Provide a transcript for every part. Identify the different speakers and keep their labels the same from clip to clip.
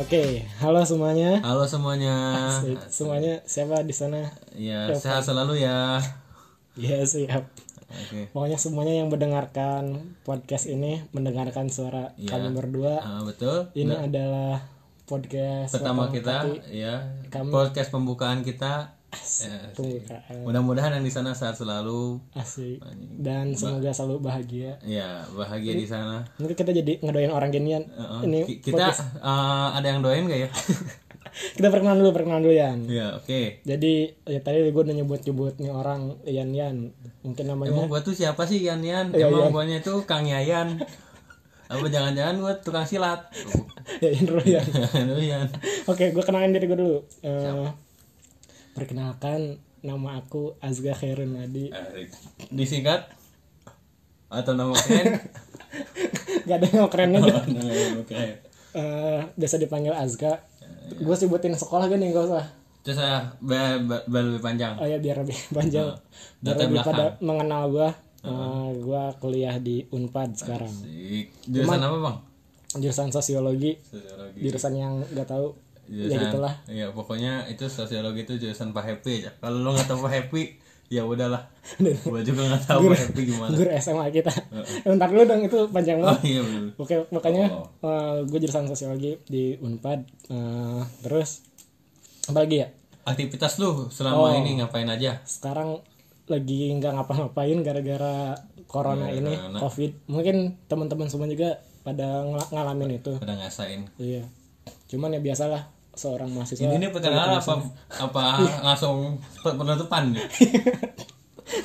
Speaker 1: Oke, halo semuanya.
Speaker 2: Halo semuanya.
Speaker 1: Asik. Semuanya siapa di sana?
Speaker 2: Ya, sehat selalu ya.
Speaker 1: Ya siap.
Speaker 2: Oke.
Speaker 1: Pokoknya semuanya yang mendengarkan podcast ini mendengarkan suara
Speaker 2: Iya.
Speaker 1: kami berdua.
Speaker 2: Ah, betul.
Speaker 1: Ya. Ini adalah podcast
Speaker 2: Pertama
Speaker 1: Potong
Speaker 2: kita
Speaker 1: Kaki
Speaker 2: ya
Speaker 1: Kami- Ya.
Speaker 2: podcast pembukaan kita.
Speaker 1: Asik.
Speaker 2: Eh,
Speaker 1: Pembukaan.
Speaker 2: Mudah-mudahan yang di sana sehat selalu.
Speaker 1: Asik. Dan semoga selalu bahagia.
Speaker 2: Ya, bahagia di sana.
Speaker 1: Mungkin kita jadi ngedoain orang ginian.
Speaker 2: Heeh.
Speaker 1: Ini
Speaker 2: Uh-uh. Ki- kita eh, ada yang doain gak ya?
Speaker 1: kita perkenalan dulu, perkenalan dulu Yan.
Speaker 2: ya, oke.
Speaker 1: Jadi ya tadi gue udah nyebut-nyebut nih orang Yan Yan. Mungkin namanya
Speaker 2: Emang gua tuh siapa sih Yan Yan?
Speaker 1: Iya, Yan.
Speaker 2: Emang guanya tuh Kang Yayan. Apa jangan-jangan gua tukang silat?
Speaker 1: Yan dulu Yan.
Speaker 2: Lu Yan.
Speaker 1: Oke, gue kenalin diri gue dulu. Eh, perkenalkan nama aku Azga Khairun Adi.
Speaker 2: Disingkat atau nama keren?
Speaker 1: Gak ada yang kerennya dah.
Speaker 2: nama yang keren.
Speaker 1: Eh, biasa dipanggil Azga. Gue sebutin sekolah gini gak usah.
Speaker 2: Terus ah, saya biar, biar lebih panjang.
Speaker 1: Oh ya biar lebih panjang. Biar
Speaker 2: Eh, Data
Speaker 1: lebih
Speaker 2: belakang. Eh.
Speaker 1: pada mengenal gue. gue kuliah di Unpad sekarang.
Speaker 2: Asik. Jurusan apa bang?
Speaker 1: Jurusan sosiologi.
Speaker 2: Sosiologi.
Speaker 1: Jurusan yang gak tahu.
Speaker 2: Jurusan,
Speaker 1: Ya gitulah.
Speaker 2: Iya pokoknya itu sosiologi itu jurusan Pak Happy aja. Kalau lo nggak tahu Pak Happy, ya udahlah. Gua juga nggak tahu Pak Happy gimana.
Speaker 1: Guru SMA kita.
Speaker 2: Eh.
Speaker 1: Bentar dulu dong itu panjang banget.
Speaker 2: Oh iya bener.
Speaker 1: Oke, makanya eh,
Speaker 2: Oh.
Speaker 1: gue jurusan sosiologi di Unpad. Eh, terus apa lagi ya?
Speaker 2: Aktivitas lu
Speaker 1: Oh.
Speaker 2: selama ini ngapain aja?
Speaker 1: Sekarang lagi nggak ngapa-ngapain gara-gara corona ini,
Speaker 2: corona.
Speaker 1: covid. Mungkin teman-teman semua juga pada ngel- ngalamin itu.
Speaker 2: Udah ngasain.
Speaker 1: Iya. Cuman ya biasalah seorang mahasiswa.
Speaker 2: Ini nih perkenalan apa apa
Speaker 1: Iya.
Speaker 2: langsung pe- penutupan nih?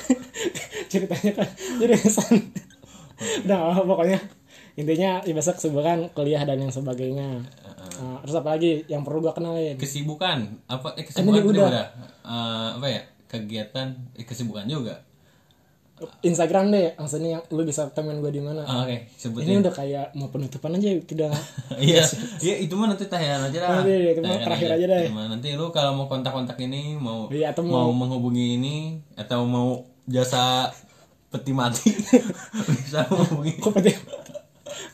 Speaker 1: ceritanya kan jadi kesan. Udah, pokoknya intinya ya biasa kesibukan kuliah dan yang sebagainya. Eh, terus apa lagi yang perlu gua kenalin?
Speaker 2: Kesibukan apa? Eh, kesibukan
Speaker 1: dia
Speaker 2: itu
Speaker 1: Kan udah.
Speaker 2: udah. Eh, apa ya? Kegiatan eh, kesibukan juga.
Speaker 1: Instagram deh, langsung nih yang lu bisa temen gue di mana.
Speaker 2: Ah, Oke, sebutin.
Speaker 1: Ini udah kayak mau penutupan aja udah.
Speaker 2: Iya, iya itu mah nanti tayangan aja lah.
Speaker 1: Nanti, itu mah
Speaker 2: Tayangan
Speaker 1: terakhir aja deh.
Speaker 2: Itu mah Nanti lu kalau mau kontak-kontak ini mau
Speaker 1: Iya, atau
Speaker 2: mau menghubungi ini atau mau jasa peti mati bisa menghubungi.
Speaker 1: Kok peti?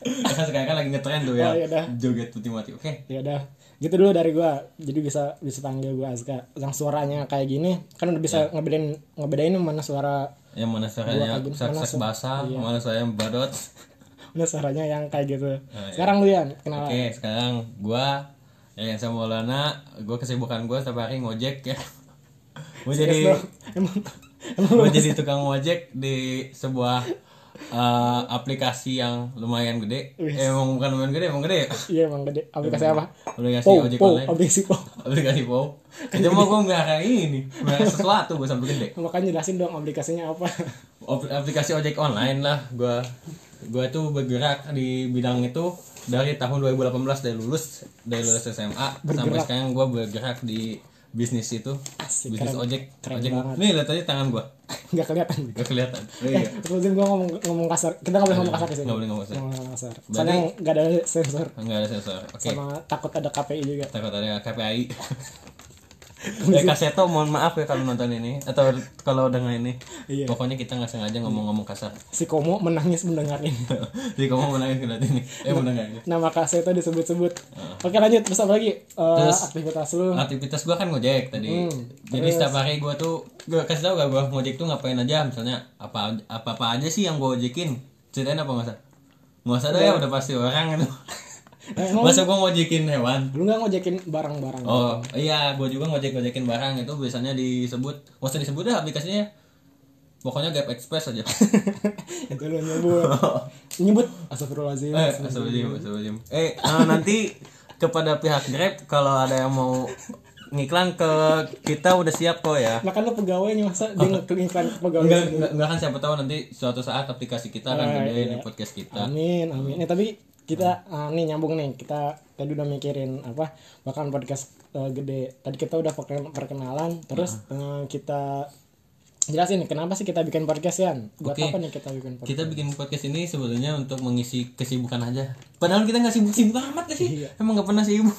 Speaker 2: Karena sekarang kan lagi ngetren tuh ya.
Speaker 1: Oh, iya dah.
Speaker 2: Joget peti mati. Oke.
Speaker 1: Ya udah. Gitu dulu dari gua. Jadi bisa bisa panggil gua Azka. Yang suaranya kayak gini kan udah
Speaker 2: Ya.
Speaker 1: bisa ngebedain ngebedain mana suara
Speaker 2: Yang mana suaranya
Speaker 1: kagum, Iya. mana
Speaker 2: sak-sak
Speaker 1: su-
Speaker 2: basah, mana suaranya badot.
Speaker 1: mana suaranya yang kayak gitu. Sekarang lu Yan, kenalan.
Speaker 2: Ah, ya. Oke, sekarang gua Yayan Samolana, gua kesibukan gua setiap hari ngojek ya. Gua jadi
Speaker 1: Yes, bro. emang emang
Speaker 2: gue jadi tukang ojek di sebuah eh, aplikasi yang lumayan gede eh, emang bukan lumayan gede emang gede ya
Speaker 1: iya emang gede. Aplikasi apa?
Speaker 2: aplikasi
Speaker 1: Pou,
Speaker 2: ojek
Speaker 1: pou,
Speaker 2: online
Speaker 1: aplikasi pou.
Speaker 2: aplikasi wow itu mah gue nggak kayak ini nggak sesuatu gue sampai gede
Speaker 1: Makanya kan jelasin dong aplikasinya apa.
Speaker 2: Op- aplikasi ojek online lah gue gue tuh bergerak di bidang itu dari tahun 2018 dari lulus dari lulus SMA sampai
Speaker 1: Bergerak.
Speaker 2: sekarang gue bergerak di bisnis itu
Speaker 1: Asik,
Speaker 2: bisnis
Speaker 1: keren.
Speaker 2: ojek
Speaker 1: Keren
Speaker 2: ojek
Speaker 1: banget.
Speaker 2: nih lihat aja tangan gue
Speaker 1: Enggak kelihatan.
Speaker 2: gak kelihatan
Speaker 1: Eh, terus gua ngomong ngomong kasar. Kita nggak boleh ngomong kasar di sini.
Speaker 2: nggak boleh ngomong kasar.
Speaker 1: Ngomong kasar. Nah,
Speaker 2: Berarti-
Speaker 1: Soalnya nggak ada sensor.
Speaker 2: nggak ada sensor oke
Speaker 1: sama takut ada KPI juga
Speaker 2: takut ada KPI ya kaseto mohon maaf ya kalau nonton ini atau kalau dengar ini
Speaker 1: Iya.
Speaker 2: pokoknya kita nggak sengaja ngomong-ngomong kasar
Speaker 1: si Komo menangis mendengar ini
Speaker 2: jadi kamu mau nangis ngeliat ini eh mau nangis
Speaker 1: nama kaseto disebut-sebut
Speaker 2: Ah.
Speaker 1: oke lanjut terus apa lagi Eh, aktivitas lu
Speaker 2: aktivitas gua kan ngojek tadi
Speaker 1: Hmm.
Speaker 2: jadi setiap hari gua tuh gua kasih tau gak gua ngojek tuh ngapain aja misalnya apa apa apa aja sih yang gua ojekin ceritain apa nggak usah nggak usah
Speaker 1: Iya.
Speaker 2: deh ya udah pasti orang itu
Speaker 1: Eh, emang
Speaker 2: masa gua ngojekin hewan
Speaker 1: lu nggak ngojekin barang-barang
Speaker 2: Oh iya, gue juga ngojek ngojekin barang itu biasanya disebut, nggak usah disebut dah aplikasinya. Pokoknya Gap Express aja. Eh,
Speaker 1: itu lu nyebut nyebut astagfirullahaladzim
Speaker 2: eh, astagfirullahaladzim, astagfirullahaladzim. Eh, eh, nanti kepada pihak Grab kalau ada yang mau ngiklan ke kita udah siap kok ya.
Speaker 1: nah kan lu pegawainya masa dia ngeklinkan ke pegawai
Speaker 2: Ah. Enggak,
Speaker 1: sendiri?
Speaker 2: enggak, enggak kan siapa tahu nanti suatu saat aplikasi kita akan
Speaker 1: Ah,
Speaker 2: gede di
Speaker 1: iya.
Speaker 2: podcast kita.
Speaker 1: amin amin Eh, tapi kita ah, nih nyambung nih kita tadi udah mikirin apa bahkan podcast eh, gede tadi kita udah perken- perkenalan terus
Speaker 2: Nah.
Speaker 1: eh, kita jelasin kenapa sih kita bikin podcast Yan buat
Speaker 2: Oke.
Speaker 1: apa nih kita bikin podcast
Speaker 2: Kita bikin podcast ini sebetulnya untuk mengisi kesibukan aja. Padahal kita nggak sibuk-sibuk amat gak sih? Emang nggak pernah sibuk.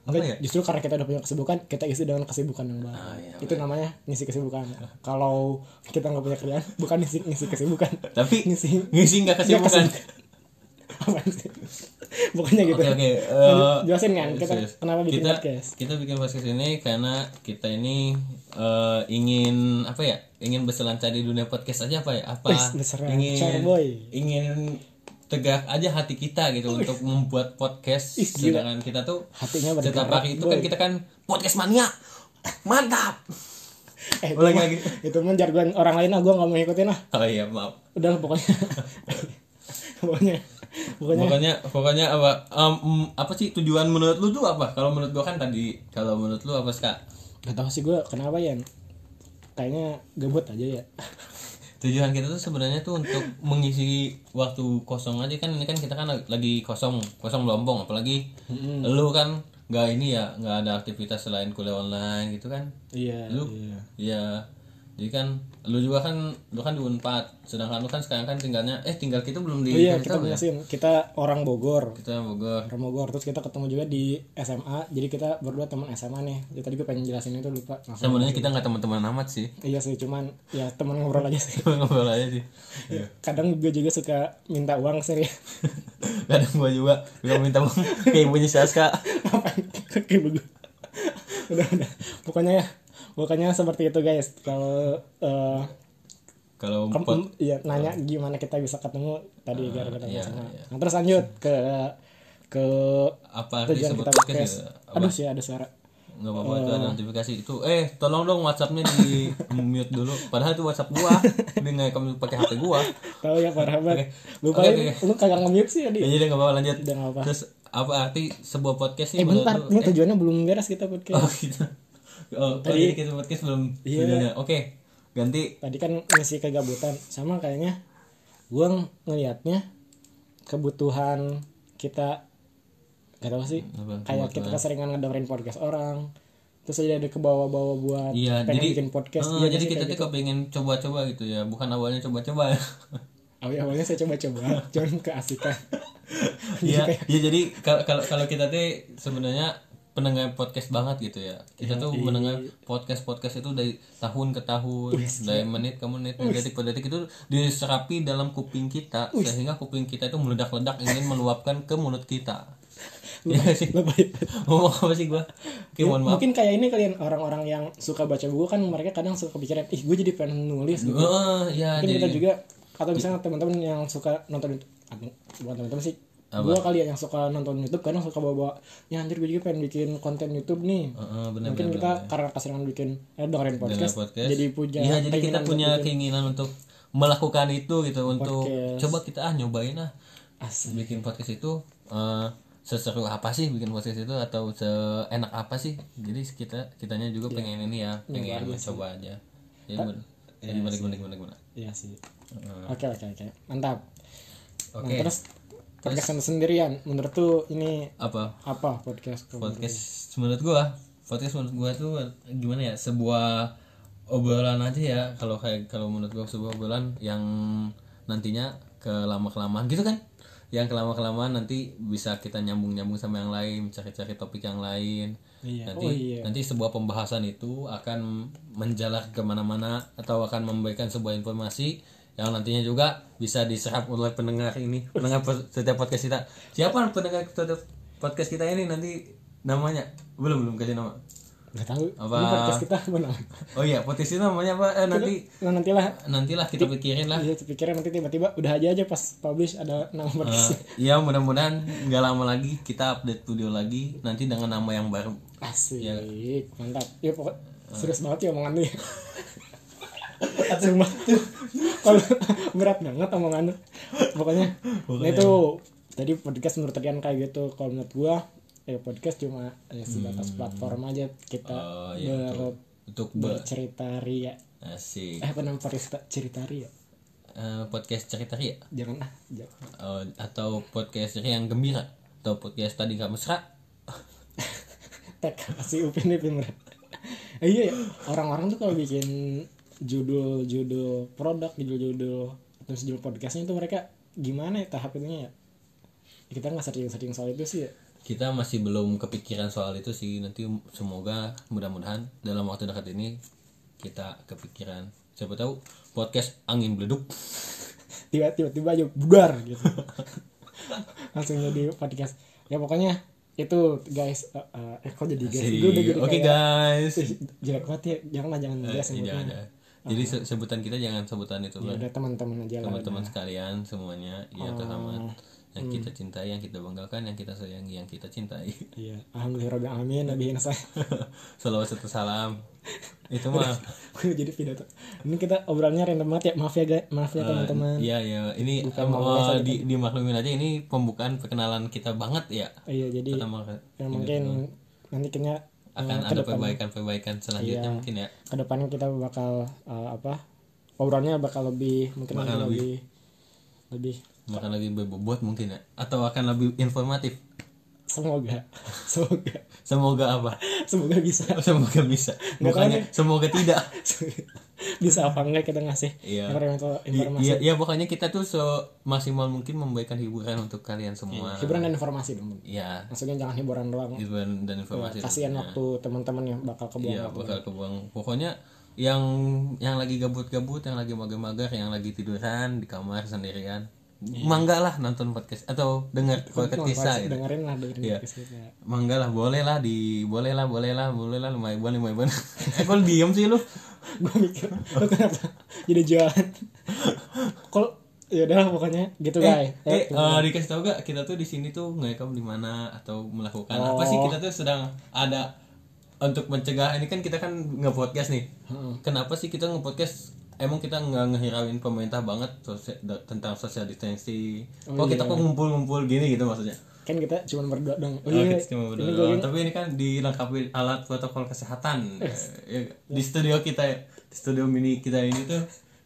Speaker 2: apa
Speaker 1: Tapi
Speaker 2: ya
Speaker 1: justru karena kita udah punya kesibukan kita isi dengan kesibukan yang baru
Speaker 2: Ah, iya,
Speaker 1: itu namanya ngisi kesibukan kalau kita nggak punya kerjaan bukan ngisi ngisi kesibukan
Speaker 2: tapi
Speaker 1: ngisi
Speaker 2: ngisi nggak kesibukan
Speaker 1: Nggak apa sih bukannya gitu
Speaker 2: oke oke eh,
Speaker 1: Lanjut, jelasin kan kita
Speaker 2: serius.
Speaker 1: kenapa bikin
Speaker 2: kita,
Speaker 1: podcast
Speaker 2: kita bikin podcast ini karena kita ini eh, ingin apa ya ingin berselancar di dunia podcast aja apa ya apa
Speaker 1: Wis, berselancar,
Speaker 2: ingin
Speaker 1: boy.
Speaker 2: ingin tegak aja hati kita gitu untuk membuat podcast
Speaker 1: Ih, gila.
Speaker 2: sedangkan kita tuh
Speaker 1: Hatinya
Speaker 2: setiap
Speaker 1: bergerak,
Speaker 2: hari itu kan
Speaker 1: boy.
Speaker 2: kita kan podcast mania mantap
Speaker 1: eh, itu,
Speaker 2: Ulangi
Speaker 1: mah,
Speaker 2: lagi.
Speaker 1: itu mah jargon orang lain ah gue nggak mau ngikutin ah
Speaker 2: oh iya maaf
Speaker 1: udah lah, pokoknya pokoknya pokoknya
Speaker 2: pokoknya pokoknya apa em, em, apa sih tujuan menurut lu tuh apa kalau menurut gua kan tadi kalau menurut lu apa sih kak
Speaker 1: gak tau sih gue kenapa ya kayaknya gabut aja ya
Speaker 2: tujuan kita tuh sebenarnya tuh untuk mengisi waktu kosong aja kan ini kan kita kan lagi kosong kosong lompong apalagi lu kan nggak ini ya nggak ada aktivitas selain kuliah online gitu kan
Speaker 1: iya
Speaker 2: lu
Speaker 1: iya.
Speaker 2: ya jadi kan lu juga kan lu kan di Unpad sedangkan lu kan sekarang kan tinggalnya eh tinggal kita belum di
Speaker 1: Oh iya kita
Speaker 2: Kristen ya?
Speaker 1: jelasin kita orang Bogor
Speaker 2: kita Bogor
Speaker 1: orang Bogor terus kita ketemu juga di SMA jadi kita berdua teman SMA nih ya, tadi gue pengen jelasin itu lupa Maaf.
Speaker 2: sebenarnya kita nggak teman-teman amat sih
Speaker 1: iya sih cuman ya teman ngobrol aja sih
Speaker 2: cuma ngobrol aja sih
Speaker 1: Iya. kadang gue juga suka minta uang sih ya
Speaker 2: kadang gua juga gua minta uang ke ibunya Saska
Speaker 1: Apaan? Kan kayak begitu udah udah pokoknya ya pokoknya seperti itu guys kalau eh,
Speaker 2: kalau
Speaker 1: kem-
Speaker 2: empat
Speaker 1: ya nanya gimana kita bisa ketemu tadi gara-gara
Speaker 2: iya,
Speaker 1: SMA.
Speaker 2: iya.
Speaker 1: Nah, terus lanjut ke ke
Speaker 2: apa arti
Speaker 1: tujuan
Speaker 2: sebut
Speaker 1: kita
Speaker 2: podcast
Speaker 1: podcast
Speaker 2: ya? Apa?
Speaker 1: aduh sih ada suara
Speaker 2: nggak apa-apa itu
Speaker 1: Oh.
Speaker 2: ada notifikasi itu eh tolong dong WhatsAppnya di mute dulu padahal itu WhatsApp gua dia ngerekam pakai HP gua
Speaker 1: tahu ya parah banget lupa
Speaker 2: Oke,
Speaker 1: lu- lu kagak nge-mute sih
Speaker 2: ya
Speaker 1: tadi
Speaker 2: jadi nggak apa-apa lanjut
Speaker 1: Iya. udah nggak apa
Speaker 2: terus apa arti sebuah podcast
Speaker 1: eh
Speaker 2: ini
Speaker 1: bentar ini tujuannya belum beres kita podcast
Speaker 2: oh gitu oh, oh, jadi kita podcast belum
Speaker 1: Iya.
Speaker 2: tujuannya. oke ganti
Speaker 1: tadi kan ngisi kegabutan sama kayaknya gue ngelihatnya kebutuhan kita gak tau sih
Speaker 2: Apa?
Speaker 1: kayak kita keseringan ngedengerin podcast orang terus jadi ada ke bawah-bawah buat
Speaker 2: Iya,
Speaker 1: pengen
Speaker 2: jadi
Speaker 1: bikin podcast
Speaker 2: eh,
Speaker 1: Iya
Speaker 2: jadi
Speaker 1: sih,
Speaker 2: kita
Speaker 1: kayak
Speaker 2: tuh kepengen coba-coba gitu ya, bukan awalnya coba-coba.
Speaker 1: gitu. Awal- awalnya saya coba-coba cuman keasikan
Speaker 2: Iya,
Speaker 1: Gitu
Speaker 2: ya jadi kalau kalau kalau kita tuh sebenarnya pendengar podcast banget gitu ya. Kita
Speaker 1: Iya
Speaker 2: tuh mendengar podcast podcast itu dari tahun ke tahun,
Speaker 1: Iya
Speaker 2: dari menit ke menit, detik ke detik itu diserapi dalam kuping kita
Speaker 1: Iya
Speaker 2: sehingga kuping kita itu meledak-ledak ingin meluapkan ke mulut kita. Iya nggak sih.
Speaker 1: lebih
Speaker 2: Ngomong apa sih gua?
Speaker 1: Iya,
Speaker 2: Oke, mohon maaf.
Speaker 1: mungkin kayak ini kalian orang-orang yang suka baca buku kan mereka kadang suka pikiran ih gue jadi pengen nulis gitu
Speaker 2: Eh, ya,
Speaker 1: mungkin kita
Speaker 2: jadi
Speaker 1: juga atau misalnya teman-teman yang suka nonton YouTube aduh, bukan teman-teman sih gue kali ya yang suka nonton YouTube kadang suka bawa-bawa ya anjir gue juga pengen bikin konten YouTube nih
Speaker 2: Eh, eh, bener
Speaker 1: mungkin kita karena keseringan bikin eh, dengerin podcast,
Speaker 2: podcast.
Speaker 1: jadi punya
Speaker 2: Iya, jadi kita punya keinginan untuk melakukan itu gitu untuk coba kita ah nyobain ah
Speaker 1: Asik.
Speaker 2: bikin podcast itu eh, seseru apa sih bikin podcast itu atau seenak apa sih? Jadi kita kitanya juga pengen ini ya, pengen mencoba aja. Jadi bener. Jadi gimana gimana gimana gimana.
Speaker 1: iya sih oke oke oke mantap
Speaker 2: Oke.
Speaker 1: nah, terus podcast yang sendirian menurut tuh ini
Speaker 2: Apa?
Speaker 1: apa podcast
Speaker 2: podcast menurut gua podcast menurut gua tuh gimana ya sebuah obrolan aja ya kalau kayak kalau menurut gua sebuah obrolan yang nantinya kelama kelamaan gitu kan yang kelama kelamaan nanti bisa kita nyambung nyambung sama yang lain cari cari topik yang lain
Speaker 1: Iya.
Speaker 2: nanti
Speaker 1: Oh, iya.
Speaker 2: nanti sebuah pembahasan itu akan menjalar kemana-mana atau akan memberikan sebuah informasi yang nantinya juga bisa diserap oleh pendengar ini pendengar pod- setiap podcast kita siapa pendengar setiap podcast kita ini nanti namanya belum belum kasih nama
Speaker 1: nggak tahu
Speaker 2: Apa?
Speaker 1: ini podcast kita apa namanya?
Speaker 2: oh iya podcast itu namanya apa Eh, nanti
Speaker 1: nah nantilah
Speaker 2: nantilah kita pikirin lah
Speaker 1: Iya, pikiran nanti tiba-tiba udah aja aja pas publish ada nama podcast.
Speaker 2: ya mudah-mudahan nggak lama lagi kita update video lagi nanti dengan nama yang baru
Speaker 1: Asik,
Speaker 2: Iya.
Speaker 1: mantap. Ya pokok serius banget ya omongan lu ya. Cuma tuh kalau berat banget omongan lu. Pokoknya, nah itu tadi podcast menurut kalian kayak gitu. Kalau menurut gua ya podcast cuma ya sebatas platform aja kita
Speaker 2: Hmm. Oh,
Speaker 1: ber-
Speaker 2: untuk ber-
Speaker 1: bercerita ria.
Speaker 2: asik
Speaker 1: Eh apa namanya cerita cerita ria?
Speaker 2: Eh, podcast cerita ya
Speaker 1: Jangan ah, jangan.
Speaker 2: Eh, atau podcaster yang gembira atau podcast tadi nggak mesra
Speaker 1: Tek si Upin Ipin berat. Eh, iya ya, orang-orang tuh kalau bikin judul-judul produk, judul-judul terus judul podcastnya itu mereka gimana ya tahap itunya ya? Kita nggak searching-searching soal itu sih ya.
Speaker 2: kita masih belum kepikiran soal itu sih nanti semoga mudah-mudahan dalam waktu dekat ini kita kepikiran siapa tahu podcast angin beleduk
Speaker 1: tiba-tiba aja budar gitu langsung jadi podcast ya pokoknya itu guys eh eh, kok jadi guys
Speaker 2: Asik.
Speaker 1: Gua udah jadi
Speaker 2: oke
Speaker 1: kayak- Iya,
Speaker 2: guys
Speaker 1: Ih, jelek banget ya janganlah jangan
Speaker 2: Eh,
Speaker 1: dia sebutnya
Speaker 2: jangan, jangan. jadi se- sebutan kita jangan sebutan itu
Speaker 1: ya
Speaker 2: kan
Speaker 1: udah teman-teman aja lah
Speaker 2: teman-teman sekalian semuanya
Speaker 1: Oh,
Speaker 2: ya terhormat yang
Speaker 1: hmm.
Speaker 2: kita cintai yang kita banggakan yang kita sayangi yang kita cintai
Speaker 1: iya alhamdulillah amin nabi saya
Speaker 2: salawat serta salam itu mah
Speaker 1: Gua jadi pidato ini kita obrolannya random banget ya maaf ya guys maaf ya teman-teman
Speaker 2: iya iya ini em, eh, di dimaklumin aja ini pembukaan perkenalan kita banget ya
Speaker 1: iya jadi
Speaker 2: pertama
Speaker 1: ya mungkin nanti kayaknya
Speaker 2: akan ada perbaikan-perbaikan selanjutnya
Speaker 1: Iya.
Speaker 2: mungkin ya
Speaker 1: kedepannya kita bakal eh, apa obrolannya bakal lebih mungkin lebih, lebih
Speaker 2: makan lagi berbobot mungkin ya atau akan lebih informatif
Speaker 1: semoga semoga
Speaker 2: semoga apa
Speaker 1: semoga bisa
Speaker 2: semoga bisa bukannya semoga tidak
Speaker 1: bisa apa enggak kita ngasih
Speaker 2: Iya.
Speaker 1: informasi
Speaker 2: I-
Speaker 1: informasi
Speaker 2: Iya, iya pokoknya kita tuh semaksimal mungkin memberikan hiburan untuk kalian semua.
Speaker 1: hiburan dan informasi dong
Speaker 2: Iya,
Speaker 1: maksudnya jangan hiburan doang
Speaker 2: hiburan dan informasi.
Speaker 1: kasihan waktu teman-teman yang bakal kebuang
Speaker 2: Iya, bakal kebuang. Pokoknya yang yang lagi gabut-gabut, yang lagi mager-mager, yang lagi tiduran di kamar sendirian, mangga lah nonton podcast atau dengar Iya. podcast kita. gitu.
Speaker 1: dengerin lah dengerin
Speaker 2: Iya.
Speaker 1: podcast kita.
Speaker 2: Mangga lah, boleh lah di, boleh lah, boleh lah, boleh lah, lumayan, lumayan, lumayan. Eh, Kok lu diem sih lu?
Speaker 1: gue mikir lu kenapa jadi jualan kalau ya udah lah, pokoknya gitu guys
Speaker 2: Eh, eh, dikasih tau gak kita tuh di sini tuh ngerekam di mana atau melakukan apa sih kita tuh sedang ada untuk mencegah ini kan kita kan nge-podcast nih. Kenapa sih kita nge-podcast? Emang kita nggak ngehirauin pemerintah banget sose- da- tentang social distancing. Kok kita kok ngumpul-ngumpul gini gitu maksudnya?
Speaker 1: kan kita cuma berdua dong oh,
Speaker 2: Oh,
Speaker 1: iya,
Speaker 2: kita cuma berdua doang. Tapi ini kan dilengkapi alat protokol kesehatan. Eh, ya, Di studio kita, ya, di studio mini kita ini tuh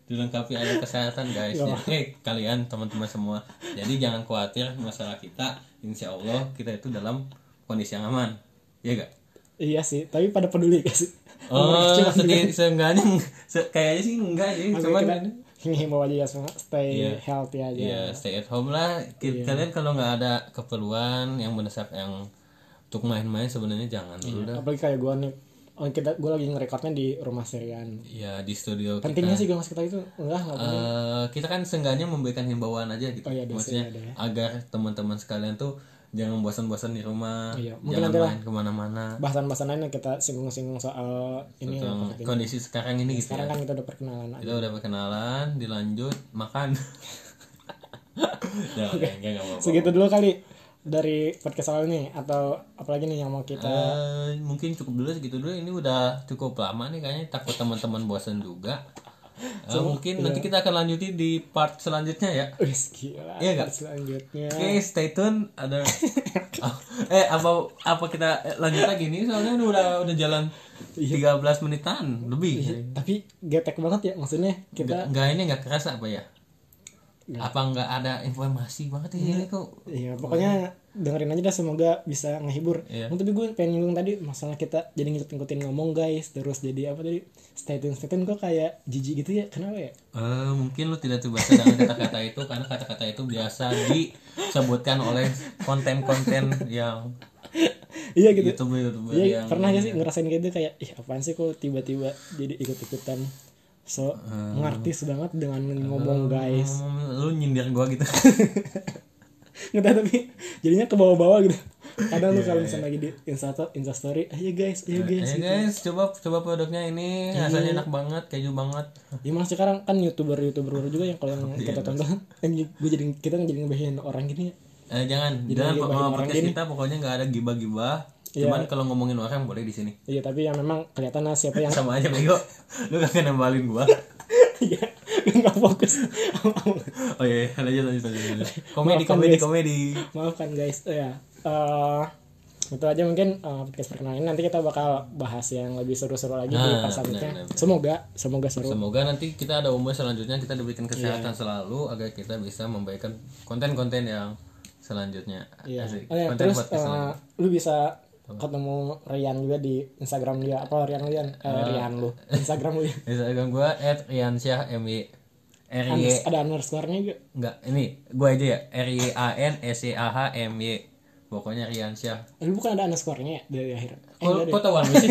Speaker 2: dilengkapi alat kesehatan guys. Jadi eh, kalian teman-teman semua, jadi jangan khawatir masalah kita. Insya Allah kita itu dalam kondisi yang aman. Iya gak?
Speaker 1: iya sih tapi pada peduli gak sih iya,
Speaker 2: Oh, seti- seenggaknya se- kayaknya sih enggak sih,
Speaker 1: Maksudnya
Speaker 2: cuman
Speaker 1: kita ngimbau aja ya semua stay healthy aja
Speaker 2: ya stay at home lah. Ki- Kalian kalau nggak ada keperluan yang mendesak yang untuk main-main sebenarnya jangan dulu dah.
Speaker 1: apalagi kayak gue nih oh, kita gue lagi ngerekornya di rumah Serian
Speaker 2: Ya di studio kita
Speaker 1: pentingnya sih gue mas kita itu enggak enggak penting.
Speaker 2: Eh, kita kan seenggaknya memberikan himbauan aja gitu.
Speaker 1: Oh. iya, ada
Speaker 2: Maksudnya agar teman-teman sekalian tuh jangan bosan-bosan di rumah,
Speaker 1: Iya, mungkin
Speaker 2: jangan
Speaker 1: nanti
Speaker 2: main kemana-mana.
Speaker 1: bahasan-bahasan lain yang kita singgung-singgung soal ini
Speaker 2: Tentang kondisi sekarang ini
Speaker 1: Iya,
Speaker 2: gitu.
Speaker 1: sekarang kan kita udah perkenalan
Speaker 2: Kita udah perkenalan, dilanjut makan. Jangan, enggak, enggak apa-apa.
Speaker 1: segitu dulu kali dari podcast awal ini atau apalagi nih yang mau kita
Speaker 2: Eh, mungkin cukup dulu segitu dulu ini udah cukup lama nih kayaknya takut teman-teman bosan juga Eh, mungkin nanti
Speaker 1: iya.
Speaker 2: kita akan lanjuti di part selanjutnya ya
Speaker 1: Wis gila.
Speaker 2: Iya nggak?
Speaker 1: Selanjutnya.
Speaker 2: Oke, stay tune. Ada Ah, eh apa apa kita eh, lanjut lagi nih soalnya ini udah udah jalan 13 menitan lebih.
Speaker 1: Tapi getek banget ya maksudnya kita
Speaker 2: Enggak ini enggak kerasa apa ya? Apa enggak ada informasi banget ya ini kok?
Speaker 1: Iya, pokoknya dengerin aja dah semoga bisa ngehibur.
Speaker 2: Iya.
Speaker 1: Oh, tapi gue pengen nyinggung tadi masalah kita jadi ngikut-ngikutin ngomong guys, terus jadi apa tadi? Stay tune, stay tune kok kayak jijik gitu ya. Kenapa ya?
Speaker 2: Eh, mungkin lu tidak terbiasa dengan kata-kata itu karena kata-kata itu biasa disebutkan oleh konten-konten yang
Speaker 1: iya gitu.
Speaker 2: YouTube YouTuber
Speaker 1: Iya,
Speaker 2: yang ya?
Speaker 1: pernah gak sih ngerasain gitu kayak ih apaan sih kok tiba-tiba jadi ikut-ikutan so
Speaker 2: Ah.
Speaker 1: ngartis banget dengan ngomong guys.
Speaker 2: Hmm, lu nyindir gua gitu.
Speaker 1: Nggak tahu, tapi jadinya ke bawah-bawah gitu. Kadang lu
Speaker 2: Iya,
Speaker 1: kalau misalnya lagi di Insta Instastory, ayo guys, ayo guys.
Speaker 2: Eh guys, coba coba produknya ini rasanya enak banget, keju banget.
Speaker 1: Ya malah sekarang kan youtuber-youtuber juga yang kalau yang
Speaker 2: Iya,
Speaker 1: kita tonton yang gue jadi kita jadi ngebahin orang gini ya.
Speaker 2: Eh, jangan, jangan po- oh, podcast kita pokoknya nggak ada gibah-gibah. Cuman kalau ngomongin orang boleh di sini.
Speaker 1: Iya tapi yang memang kelihatan lah siapa yang
Speaker 2: Sama aja bego. Lu gak akan nembalin gua.
Speaker 1: ya nggak fokus.
Speaker 2: Oh iya, iya. lanjut lanjut lanjut. lanjut. Komedi komedi komedi.
Speaker 1: Maafkan guys. Eh, ya. Eh, itu aja mungkin eh, podcast perkenalan ini. nanti kita bakal bahas yang lebih seru-seru lagi di
Speaker 2: Nah,
Speaker 1: pas selanjutnya.
Speaker 2: benar,
Speaker 1: Semoga semoga seru.
Speaker 2: Semoga nanti kita ada umur selanjutnya kita diberikan kesehatan
Speaker 1: Iya.
Speaker 2: selalu agar kita bisa memberikan konten-konten yang selanjutnya.
Speaker 1: Iya.
Speaker 2: Asik.
Speaker 1: Oh, iya,
Speaker 2: Konten
Speaker 1: Terus
Speaker 2: podcast
Speaker 1: eh, lu bisa ketemu Rian juga di Instagram dia apa Rian Rian eh, Rian lu Instagram lu ya.
Speaker 2: Instagram gua @riansyahmy R Y
Speaker 1: Unders- ada underscore-nya juga
Speaker 2: enggak ini gua aja ya R Y A N S Y A H M Y W pokoknya Riansyah
Speaker 1: Tapi bukan ada underscore-nya ya dari akhir. Eh,
Speaker 2: Kok,
Speaker 1: ada
Speaker 2: kok tahu Army sih?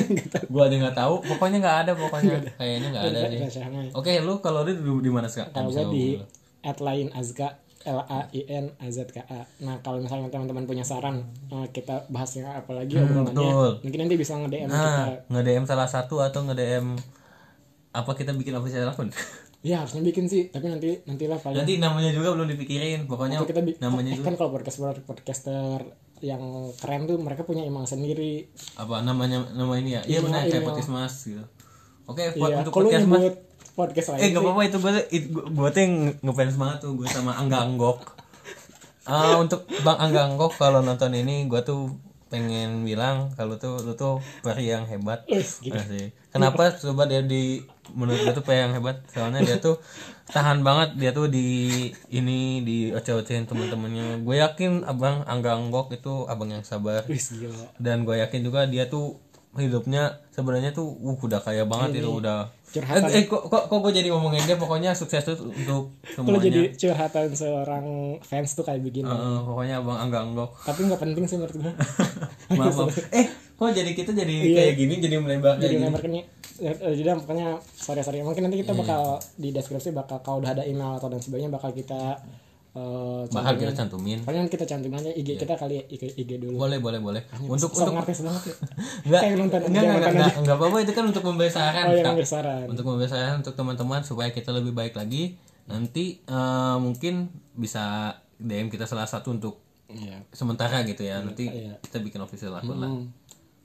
Speaker 2: gua aja nggak tahu. Pokoknya nggak ada pokoknya. Kayaknya nggak ada
Speaker 1: deh.
Speaker 2: deh.
Speaker 1: Rasa sama.
Speaker 2: Oke, lu kalau di di mana sekarang?
Speaker 1: Kalau
Speaker 2: Abis
Speaker 1: gue
Speaker 2: sama
Speaker 1: di
Speaker 2: gua.
Speaker 1: at lain Azka L A I N A Z K A. Nah kalau misalnya teman-teman punya saran eh, kita bahasnya apa lagi obrolannya,
Speaker 2: Hmm, betul.
Speaker 1: mungkin nanti bisa nge DM kita.
Speaker 2: Nah, nge-DM salah satu atau nge-DM apa kita bikin official akun?
Speaker 1: Ya harusnya bikin sih, tapi nanti nantilah paling.
Speaker 2: Nanti namanya juga belum dipikirin. Pokoknya
Speaker 1: Atau kita bi- eh,
Speaker 2: namanya juga
Speaker 1: kan kalau podcast podcaster yang keren tuh mereka punya email sendiri.
Speaker 2: apa namanya nama ini ya? Iya
Speaker 1: Email,
Speaker 2: benar kayak
Speaker 1: email.
Speaker 2: podcast Mas gitu. Oke, buat
Speaker 1: Iya.
Speaker 2: untuk
Speaker 1: Kalau
Speaker 2: podcast Mas.
Speaker 1: nyebut podcast lain
Speaker 2: Eh
Speaker 1: sih,
Speaker 2: gak apa-apa itu gue gue tuh yang ngefans banget tuh gue sama Angga Anggok. Ah untuk Bang Angga Anggok kalau nonton ini gue tuh pengen bilang kalau tuh lu tuh peri yang hebat. Asik. Kenapa coba dia di menurut gue tuh peri yang hebat soalnya dia tuh tahan banget dia tuh di ini di oce-ocein temen-temennya. Gue yakin abang Angga Anggok itu abang yang sabar
Speaker 1: Wis gila.
Speaker 2: dan gue yakin juga dia tuh hidupnya sebenarnya tuh uh udah kaya banget itu udah
Speaker 1: curhatan.
Speaker 2: eh, eh, kok kok, kok gue jadi ngomongin dia pokoknya sukses tuh untuk
Speaker 1: Kalau
Speaker 2: semuanya Oh.
Speaker 1: jadi curhatan seorang fans tuh kayak begini.
Speaker 2: Heeh, pokoknya abang angga anggok
Speaker 1: Tapi nggak penting sih menurut gue.
Speaker 2: maaf Bang. eh kok jadi kita jadi kayak gini jadi melebar kayak
Speaker 1: Iya. jadi
Speaker 2: gini
Speaker 1: member ini eh, eh, jadi pokoknya sorry sorry mungkin nanti
Speaker 2: Iya.
Speaker 1: kita bakal di deskripsi bakal kalau udah ada email atau dan sebagainya bakal kita eh, cantumin.
Speaker 2: bakal kita cantumin
Speaker 1: pokoknya nanti kita cantumin aja IG kita kali ya IG, IG dulu
Speaker 2: boleh boleh boleh Iya. untuk
Speaker 1: so
Speaker 2: untuk
Speaker 1: ngerti banget ya
Speaker 2: enggak
Speaker 1: kayak nonton
Speaker 2: enggak
Speaker 1: kayak
Speaker 2: enggak
Speaker 1: nonton
Speaker 2: enggak enggak apa-apa itu kan untuk memberi saran
Speaker 1: oh yang
Speaker 2: Kak.
Speaker 1: ngambil saran
Speaker 2: untuk memberi saran untuk teman-teman supaya kita lebih baik lagi nanti eh, mungkin bisa DM kita salah satu untuk
Speaker 1: iya
Speaker 2: sementara gitu ya nanti kita bikin official akun lah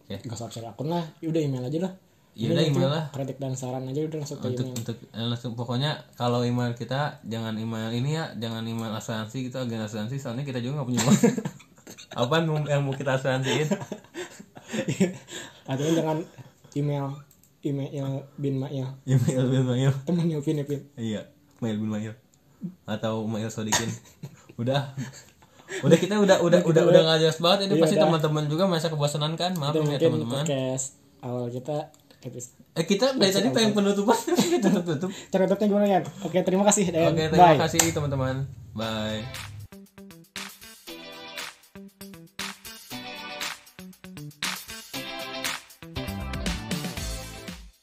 Speaker 2: ya
Speaker 1: nggak usah cari akun lah Ya udah email aja lah
Speaker 2: ya udah email lah
Speaker 1: kritik dan saran aja udah langsung ke
Speaker 2: untuk untuk eh, langsung pokoknya kalau email kita jangan email ini ya jangan email asuransi gitu agen asuransi soalnya kita juga nggak punya uang apa yang mau kita asuransiin
Speaker 1: atau jangan email email email bin iya. mail
Speaker 2: email bin mail
Speaker 1: temennya Upin Upin
Speaker 2: iya mail bin mail atau mail sodikin udah udah kita udah udah udah udah nggak jelas banget ini pasti teman-teman juga masa kebosanan kan maaf
Speaker 1: dan mungkin
Speaker 2: ya teman-teman
Speaker 1: podcast awal kita episode
Speaker 2: eh kita dari tadi pengen penutupan tapi kita tutup tutup
Speaker 1: Cara tutupnya gimana ya? Oke, terima kasih dan
Speaker 2: Oke, terima
Speaker 1: bye.
Speaker 2: kasih teman-teman. Bye.